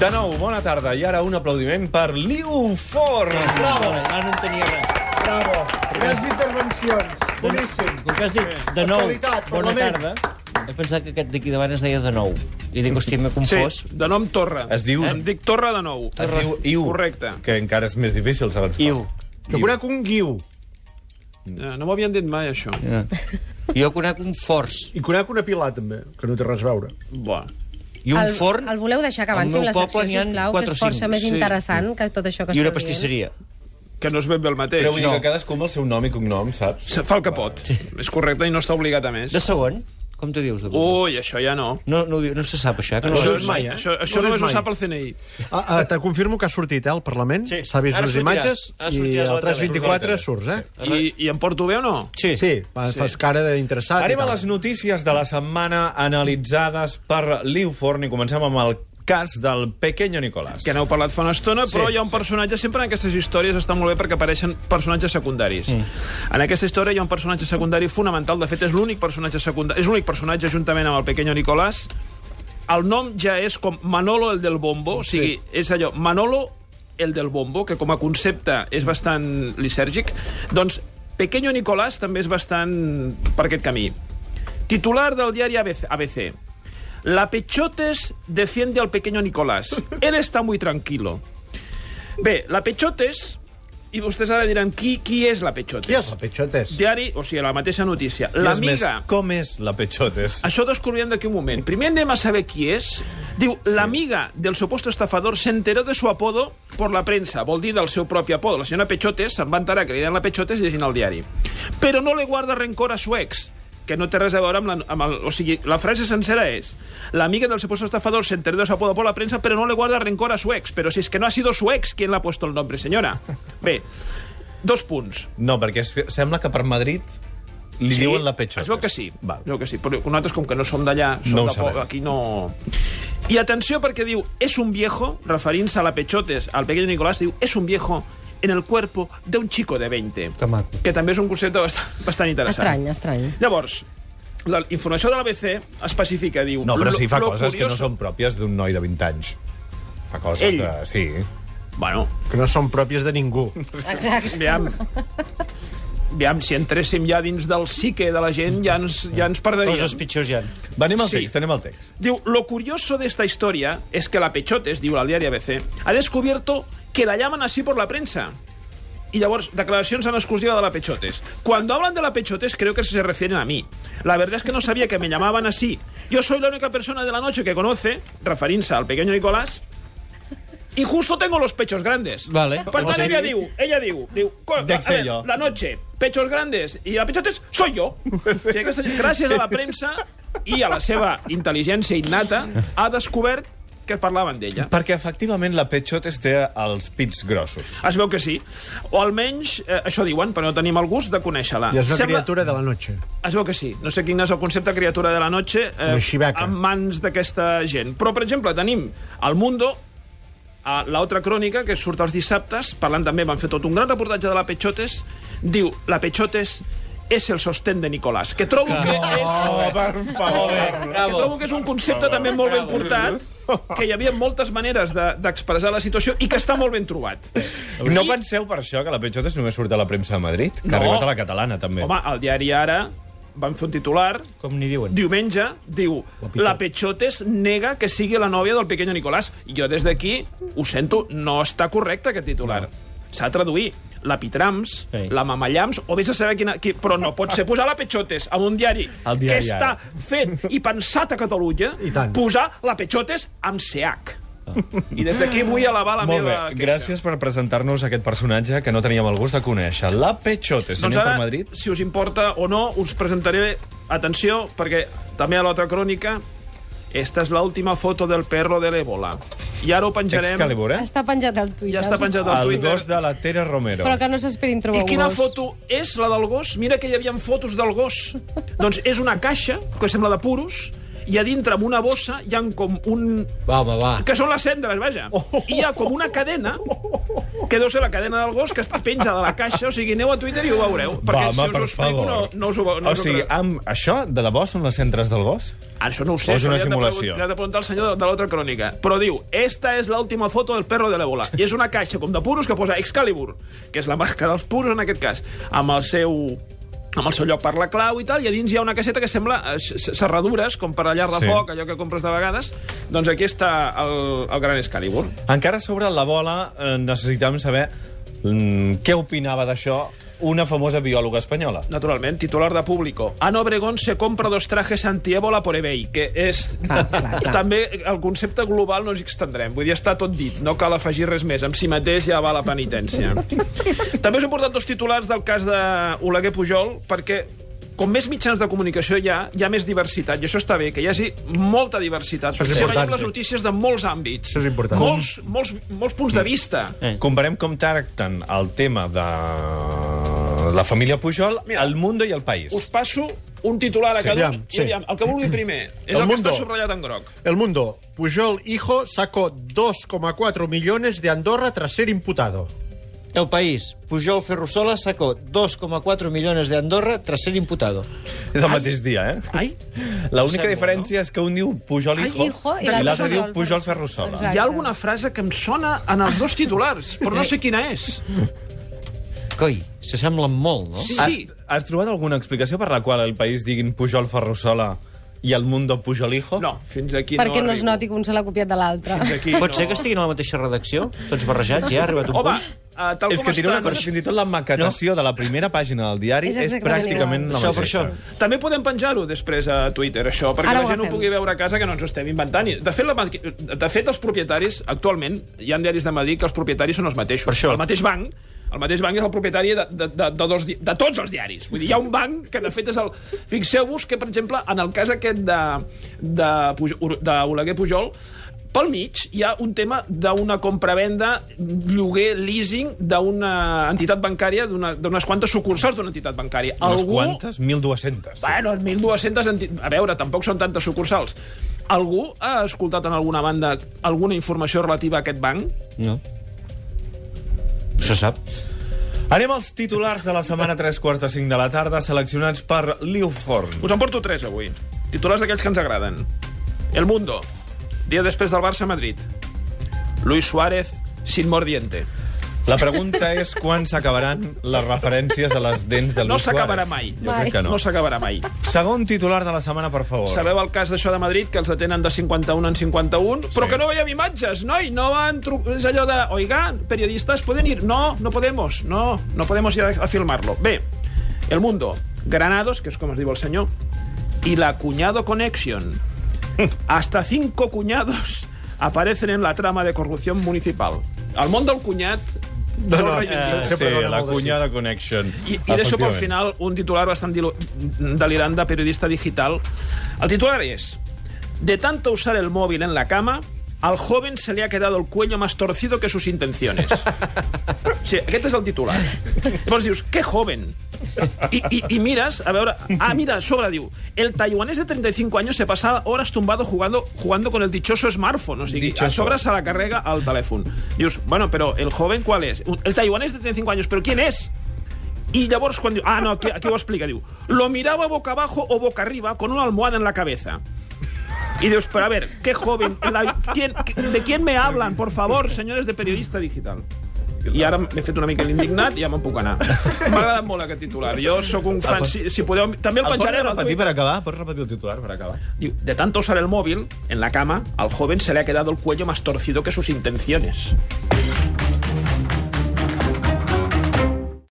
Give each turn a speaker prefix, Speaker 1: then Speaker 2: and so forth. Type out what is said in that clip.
Speaker 1: de nou, bona tarda. I ara un aplaudiment per Liu Ford.
Speaker 2: Bravo! Ara no en tenia res.
Speaker 3: Bravo. Grans intervencions. Boníssim.
Speaker 2: Com que has dit de nou,
Speaker 3: Especialitat,
Speaker 2: bona
Speaker 3: parlament.
Speaker 2: tarda, he pensat que aquest d'aquí davant es deia de nou. I dic, hòstia, m'he confós.
Speaker 4: de nom Torra.
Speaker 1: Es diu-
Speaker 4: Em dic Torra de nou.
Speaker 1: Es diu Iu.
Speaker 4: Correcte.
Speaker 1: Que encara és més difícil, segons com.
Speaker 2: Iu.
Speaker 3: Jo conec un guiu
Speaker 4: Eh, No m'ho havien dit mai, això.
Speaker 2: Ja. Jo conec un fors
Speaker 3: i conec una pilar, també, que no té res a veure.
Speaker 4: Buah.
Speaker 2: i un
Speaker 5: el,
Speaker 2: forn
Speaker 5: El voleu deixar que
Speaker 2: Al
Speaker 5: avanci
Speaker 2: meu
Speaker 5: la secció,
Speaker 2: poble n'hi ha
Speaker 5: sisplau, que
Speaker 2: quatre o
Speaker 5: és força
Speaker 2: cinc,
Speaker 5: més
Speaker 4: sí.
Speaker 5: interessant que tot això que
Speaker 2: i una
Speaker 5: esteu dient.
Speaker 2: pastisseria.
Speaker 4: Que no es ben bé el mateix.
Speaker 1: Però vull dir
Speaker 2: No.
Speaker 1: que cadascú amb el seu nom i cognom, saps?
Speaker 4: Se Fa el que pot. És correcte i no està obligat a més.
Speaker 2: De segon? Com t'ho dius? De segon?
Speaker 4: Ui, això ja no.
Speaker 2: No, no, ho diu- no se sap, això. eh, Que no
Speaker 4: Això,
Speaker 3: l'has vist mai, eh?
Speaker 4: això,
Speaker 3: No
Speaker 4: això
Speaker 3: l'has
Speaker 4: només ho
Speaker 3: mai.
Speaker 4: sap el CNI.
Speaker 3: Ah, ah, te confirmo que ha sortit, eh, al Parlament.
Speaker 2: Sí.
Speaker 3: S'ha vist
Speaker 2: Ara
Speaker 3: les
Speaker 2: sortiràs.
Speaker 3: imatges
Speaker 2: Ara
Speaker 3: i
Speaker 2: sortiràs a la
Speaker 3: el
Speaker 2: tele.
Speaker 3: 324
Speaker 1: Surts
Speaker 3: surts,
Speaker 1: a la
Speaker 3: eh?
Speaker 4: I, I em porto bé o no?
Speaker 2: Sí. sí.
Speaker 3: Sí, fa- fas cara d'interessat.
Speaker 1: Anem
Speaker 3: i
Speaker 1: a
Speaker 3: tal.
Speaker 1: les notícies de la setmana analitzades per Liu Forn i comencem amb el cas del Pequeño Nicolás.
Speaker 4: que n'heu parlat fa una estona, però
Speaker 1: Sí,
Speaker 4: hi ha un personatge, sempre en aquestes històries està molt bé perquè apareixen personatges secundaris.
Speaker 1: Mm.
Speaker 4: En aquesta història hi ha un personatge secundari fonamental, de fet és l'únic personatge secundari, és l'únic personatge juntament amb el pequeño Nicolás. El nom ja és com Manolo el del Bombo, o sigui, és allò, Manolo el del Bombo, que com a concepte és bastant lisèrgic, doncs Pequeño Nicolás també és bastant per aquest camí. Titular del diari ABC. ABC. La Pechotes defiende al pequeño Nicolás. Él está muy tranquilo. Bé, la Pechotes... I vostès ara diran, qui, qui és la Pechotes?
Speaker 3: Qui és el Peixotes?
Speaker 4: Diari, o sigui, la mateixa notícia.
Speaker 1: I és més,
Speaker 4: L'amiga...
Speaker 1: com és la Pechotes?
Speaker 4: Això descobrirem d'aquí un moment. Primer anem a saber qui és. Diu, l'amiga del supuesto estafador se enteró de su apodo por la prensa. Vol dir del seu propi apodo. La senyora Pechotes se'n va enterar que li deien la Pechotes llegint el diari. Però no le guarda rencor a su ex que no té res a veure amb, la, amb el... O sigui, la frase sencera és L'amiga del supuesto estafador se enteró de su apodo por la prensa pero no le guarda rencor a su ex. Pero si es que no ha sido su ex quien le ha puesto el nombre, senyora. Bé, dos punts.
Speaker 1: No, perquè és que sembla que per Madrid li diuen la Pechotes.
Speaker 4: Es veu que sí,
Speaker 1: Val.
Speaker 4: es veu que sí. però nosaltres com que no som d'allà, som
Speaker 1: No ho
Speaker 4: de po-
Speaker 1: sabem.
Speaker 4: aquí no... I atenció perquè diu, és un viejo, referint-se a la Pechotes, al pequeño Nicolás, diu, és un viejo en el cuerpo de un chico de 20.
Speaker 2: Que maco.
Speaker 4: Que també és un concepte bastant, bastant interessant.
Speaker 5: Estrany, eh? estrany.
Speaker 4: Llavors, la informació de l'ABC especifica, diu...
Speaker 1: No, però
Speaker 4: "Lo-
Speaker 1: sí fa
Speaker 4: lo
Speaker 1: coses que no
Speaker 4: curioso-"
Speaker 1: són pròpies d'un noi de 20 anys. Fa coses
Speaker 4: Ell.
Speaker 1: de... Sí.
Speaker 4: Bueno,
Speaker 3: Que no són pròpies de ningú.
Speaker 5: Exacte.
Speaker 4: veam... Veam, si entréssim ja dins del psique de la gent, ja ens, ja ens perderíem.
Speaker 2: Coses pitjors hi ha.
Speaker 1: Va, anem al
Speaker 4: Sí.
Speaker 1: text, anem al text.
Speaker 4: Diu, lo curioso de esta historia es que la Pechotes, diu la diaria ABC, ha descubierto que la llaman así por la prensa. Y llavors, declaracions en exclusiva de la Pechotes. Cuando hablan de la Pechotes, creo que se refieren a mí. La verdad es que no sabía que me llamaban así. Yo soy la única persona de la noche que conoce, referint-se al pequeño Nicolás, y justo tengo los pechos grandes.
Speaker 2: Vale.
Speaker 4: Per tant, ella diu, ella diu, diu co- a
Speaker 1: Dec ser
Speaker 4: veure,
Speaker 1: jo.
Speaker 4: la noche, pechos grandes i la Pechotes, soy yo. O sigui, aquesta, gent, gràcies a la premsa i a la seva intel·ligència innata, ha descobert que parlaven d'ella.
Speaker 1: Perquè, efectivament, la Pechotes té els pits grossos.
Speaker 4: Es veu que sí. O almenys, eh, això diuen, però no tenim el gust de conèixer-la.
Speaker 3: I és una criatura de la noche.
Speaker 4: Es veu que sí. No sé quin és el concepte criatura de la noche eh,
Speaker 3: Una xiveca.
Speaker 4: en mans d'aquesta gent. Però, per exemple, tenim El Mundo, a l'altra crònica, que surt els dissabtes, parlant també, van fer tot un gran reportatge de la Pechotes, diu, la Pechotes és el sostén de Nicolás, que trobo que és...
Speaker 1: per favor,
Speaker 4: Que trobo que és un concepte també molt ben portat, que hi havia moltes maneres de- d'expressar de, la situació i que està molt ben trobat.
Speaker 1: No
Speaker 4: I-
Speaker 1: penseu per això que la Pechotes només surt a la premsa de Madrid? Que
Speaker 4: No.
Speaker 1: ha arribat a la catalana, també.
Speaker 4: Home, el diari Ara van fer un titular
Speaker 2: Com n'hi diuen.
Speaker 4: Diumenge, diu, la Pechotes nega que sigui la nòvia del pequeño Nicolás. Jo des d'aquí ho sento, no està correcte aquest titular. S'ha de traduir la Pitrams,
Speaker 2: Sí.
Speaker 4: la Mamallams, o vés a saber quina... Qui, però no pot ser posar la Pechotes en un diari,
Speaker 1: El diari
Speaker 4: que està
Speaker 1: Ara.
Speaker 4: fet i pensat a Catalunya,
Speaker 3: I tant.
Speaker 4: posar la Pechotes amb CH. I des d'aquí vull elevar la
Speaker 1: Ah. Molt bé,
Speaker 4: meva queixa.
Speaker 1: gràcies per presentar-nos aquest personatge que no teníem el gust de conèixer. La Pechotes,
Speaker 4: Doncs
Speaker 1: anem
Speaker 4: ara,
Speaker 1: per Madrid?
Speaker 4: si us importa o no, us presentaré... Atenció, perquè també a l'altra crònica... Esta és l'última foto del perro de l'Ebola. I ara ho penjarem...
Speaker 1: Excalibur, eh?
Speaker 5: Està penjat al Twitter.
Speaker 4: Ja està penjat al
Speaker 1: El
Speaker 4: Twitter.
Speaker 1: gos de la Tere Romero.
Speaker 5: Però que no s'esperin
Speaker 4: I
Speaker 5: trobar
Speaker 4: quina
Speaker 5: gos.
Speaker 4: foto és la del gos? Mira que hi havia fotos del gos. doncs és una caixa, que sembla de puros, i a dintre, amb una bossa, hi ha com un...
Speaker 2: Va, home, va.
Speaker 1: Oh.
Speaker 4: Que són les cendres, vaja. I hi ha com una cadena que deu ser la cadena del gos que està penja de la caixa, o sigui, aneu a Twitter i ho veureu. Perquè si us ho explico no, no us ho veu- no
Speaker 1: o
Speaker 4: us ho
Speaker 1: sigui,
Speaker 4: creu.
Speaker 1: amb això, de debò, són les centres del gos?
Speaker 4: Això no ho sé.
Speaker 1: O és una
Speaker 4: això li has de
Speaker 1: simulació.
Speaker 4: pregun- Li has de preguntar al senyor de, de l'altra crònica. Però diu, esta és l'última foto del perro de l'Ebola. I és una caixa com de puros que posa Excalibur, que és la marca dels puros en aquest cas, amb el seu amb el seu lloc per la clau i tal, i a dins hi ha una caseta que sembla eh, s- s- serradures, com per allar de
Speaker 1: Sí.
Speaker 4: sí. foc, allò que compres de vegades. Doncs aquí està el, el gran Excalibur.
Speaker 1: Encara sobre la bola eh, necessitàvem saber mm, què opinava d'això una famosa biòloga espanyola.
Speaker 4: Naturalment, titular de público. Ana Obregón se compra dos trajes antiébola por eBay, que és...
Speaker 3: Ah,
Speaker 5: Clar, clar, clar.
Speaker 4: També el concepte global no ens extendrem. Vull dir, està tot dit. No cal afegir res més. Amb si mateix ja va la penitència. També us he portat dos titulars del cas d'Oleguer Pujol, perquè com més mitjans de comunicació hi ha, hi ha més diversitat. I això està bé, que hi hagi molta diversitat.
Speaker 3: és
Speaker 4: Perquè sempre veiem
Speaker 3: important,
Speaker 4: les
Speaker 3: sí.
Speaker 4: notícies de molts àmbits.
Speaker 3: Això és important. Mm.
Speaker 4: Molts, molts, molts punts de vista.
Speaker 2: Eh.
Speaker 1: Comparem com tracten el tema de la família Pujol,
Speaker 4: Mira.
Speaker 1: el Mundo i el País.
Speaker 4: Us passo un titular a
Speaker 3: Sí,
Speaker 4: cada
Speaker 3: aviam,
Speaker 4: un.
Speaker 3: sí.
Speaker 4: I aviam, el que vulgui primer. És
Speaker 3: El
Speaker 4: el, que
Speaker 3: Mundo.
Speaker 4: està subratllat en groc.
Speaker 3: El Mundo. Pujol Hijo sacó 2,4 millones de Andorra tras ser imputado.
Speaker 2: El país, Pujol Ferrusola sacó 2,4 millones de Andorra tras ser imputado.
Speaker 1: És el mateix dia, eh?
Speaker 4: Ai.
Speaker 1: La única
Speaker 4: Sembla,
Speaker 1: diferència és que un diu Pujol
Speaker 5: Ai,
Speaker 1: Hijo,
Speaker 5: hijo, i
Speaker 1: i
Speaker 5: l'altre
Speaker 1: l'altre diu
Speaker 5: Pujol
Speaker 1: Pujol
Speaker 5: Ferrusola.
Speaker 1: Ferrusola.
Speaker 4: Hi ha alguna frase que em sona en els dos titulars, però no sé quina és.
Speaker 2: Coi, se semblen molt, no?
Speaker 4: Sí,
Speaker 1: Has,
Speaker 4: sí.
Speaker 1: has trobat alguna explicació per la qual el país diguin Pujol Ferrusola i el Mundo Pujol Hijo?
Speaker 4: No, fins aquí no
Speaker 5: Perquè no es
Speaker 4: arribo.
Speaker 5: noti que un se l'ha copiat de l'altre.
Speaker 4: Fins aquí
Speaker 2: Pot
Speaker 4: no.
Speaker 2: ser que estiguin a la mateixa redacció, tots barrejats, ja ha arribat un
Speaker 4: Home,
Speaker 2: punt.
Speaker 4: uh, tal
Speaker 1: És
Speaker 4: com
Speaker 1: que diré una
Speaker 4: estan-
Speaker 1: cosa, fins i tot la maquetació de la primera pàgina del diari
Speaker 5: És
Speaker 1: és,
Speaker 5: exactament
Speaker 1: pràcticament
Speaker 5: igual.
Speaker 1: la
Speaker 2: Això
Speaker 1: mateixa.
Speaker 2: per això.
Speaker 4: També podem penjar-ho després a Twitter, això, perquè
Speaker 5: Ara
Speaker 4: la
Speaker 5: ho
Speaker 4: gent ho
Speaker 5: agafem.
Speaker 4: pugui veure a casa, que no ens ho estem inventant. I, De fet, la, maqui- de fet, els propietaris, actualment, hi ha diaris de Madrid que els propietaris són els mateixos.
Speaker 2: Per això.
Speaker 4: El mateix banc, el mateix banc és el propietari de, de, de, de, dos, di- de tots els diaris. Vull dir, hi ha un banc que, de fet, és el... Fixeu-vos que, per exemple, en el cas aquest d'Oleguer de, de Oleguer Pujol, pel mig hi ha un tema d'una compravenda, lloguer, leasing d'una entitat bancària, d'una- d'unes quantes sucursals d'una entitat bancària.
Speaker 1: Unes quantes? 1.200.
Speaker 4: Bueno, 1.200 enti... A veure, tampoc són tantes sucursals. Algú ha escoltat en alguna banda alguna informació relativa a aquest banc?
Speaker 2: No. Se sap.
Speaker 1: Anem als titulars de la setmana 3 quarts de 5 de la tarda, seleccionats per Liu Forn.
Speaker 4: Us en porto tres avui. Titulars d'aquells que ens agraden. El Mundo. Dia després del Barça-Madrid. Luis Suárez sin mordiente.
Speaker 1: La pregunta és quan s'acabaran les referències a les dents de Luis
Speaker 4: No s'acabarà
Speaker 1: Suárez.
Speaker 4: mai.
Speaker 1: Jo crec que
Speaker 4: No
Speaker 1: no.
Speaker 4: s'acabarà mai.
Speaker 1: Segon titular de la setmana, per favor.
Speaker 4: Sabeu el cas d'això de Madrid, que els detenen de 51 en 51, però
Speaker 1: Sí.
Speaker 4: que no veiem imatges, noi, no van... tru- És allò de, oigan, periodistes, ¿pueden ir? No, no podemos, no, no podemos ir a, a filmarlo. Bé, El Mundo, Granados, que és com es diu el senyor, i la Cuñado Connection. Hasta cinco cuñados aparecen en la trama de corrupció municipal. El món del cunyat...
Speaker 3: No, no,
Speaker 4: no reivindica.
Speaker 1: Sí,
Speaker 3: Sempre dona
Speaker 1: la
Speaker 3: molt de
Speaker 1: cunya de Connection.
Speaker 4: I, i deixo pel
Speaker 1: Efectivament.
Speaker 4: final un titular bastant dilu- delirant de periodista digital. El titular és... De tanto usar el móvil en la cama, al joven se le ha quedado el cuello más torcido que sus intenciones. Sí, aquest és el titular. Llavors dius, que joven. I, i, I mires, a veure... Ah, mira, a sobre diu... El taiwanés de 35 años se pasa horas tumbado jugando, jugando con el dichoso smartphone. O sigui, a
Speaker 1: Dichoso.
Speaker 4: sobre se la carrega al telèfon. Dius, bueno, pero el joven, ¿cuál es? El taiwanés de 35 años, ¿pero quién es? I llavors quan diu... Ah, no, aquí, aquí ho explica, diu... Lo miraba boca abajo o boca arriba con una almohada en la cabeza. Y dius, pero a ver, qué joven... La, ¿quién, ¿De quién me hablan, por favor, señores de periodista digital? I ara m'he fet una mica l'indignat i ja me'n puc anar. M'ha agradat molt aquest titular. Jo sóc un fan... Si, si podeu... També el
Speaker 1: El pots
Speaker 4: penjarem al
Speaker 1: repetir
Speaker 4: Twitter.
Speaker 1: per acabar? Pots repetir el titular per acabar?
Speaker 4: Diu, de tanto usar el móvil en la cama, al joven se le ha quedado el cuello más torcido que sus intenciones.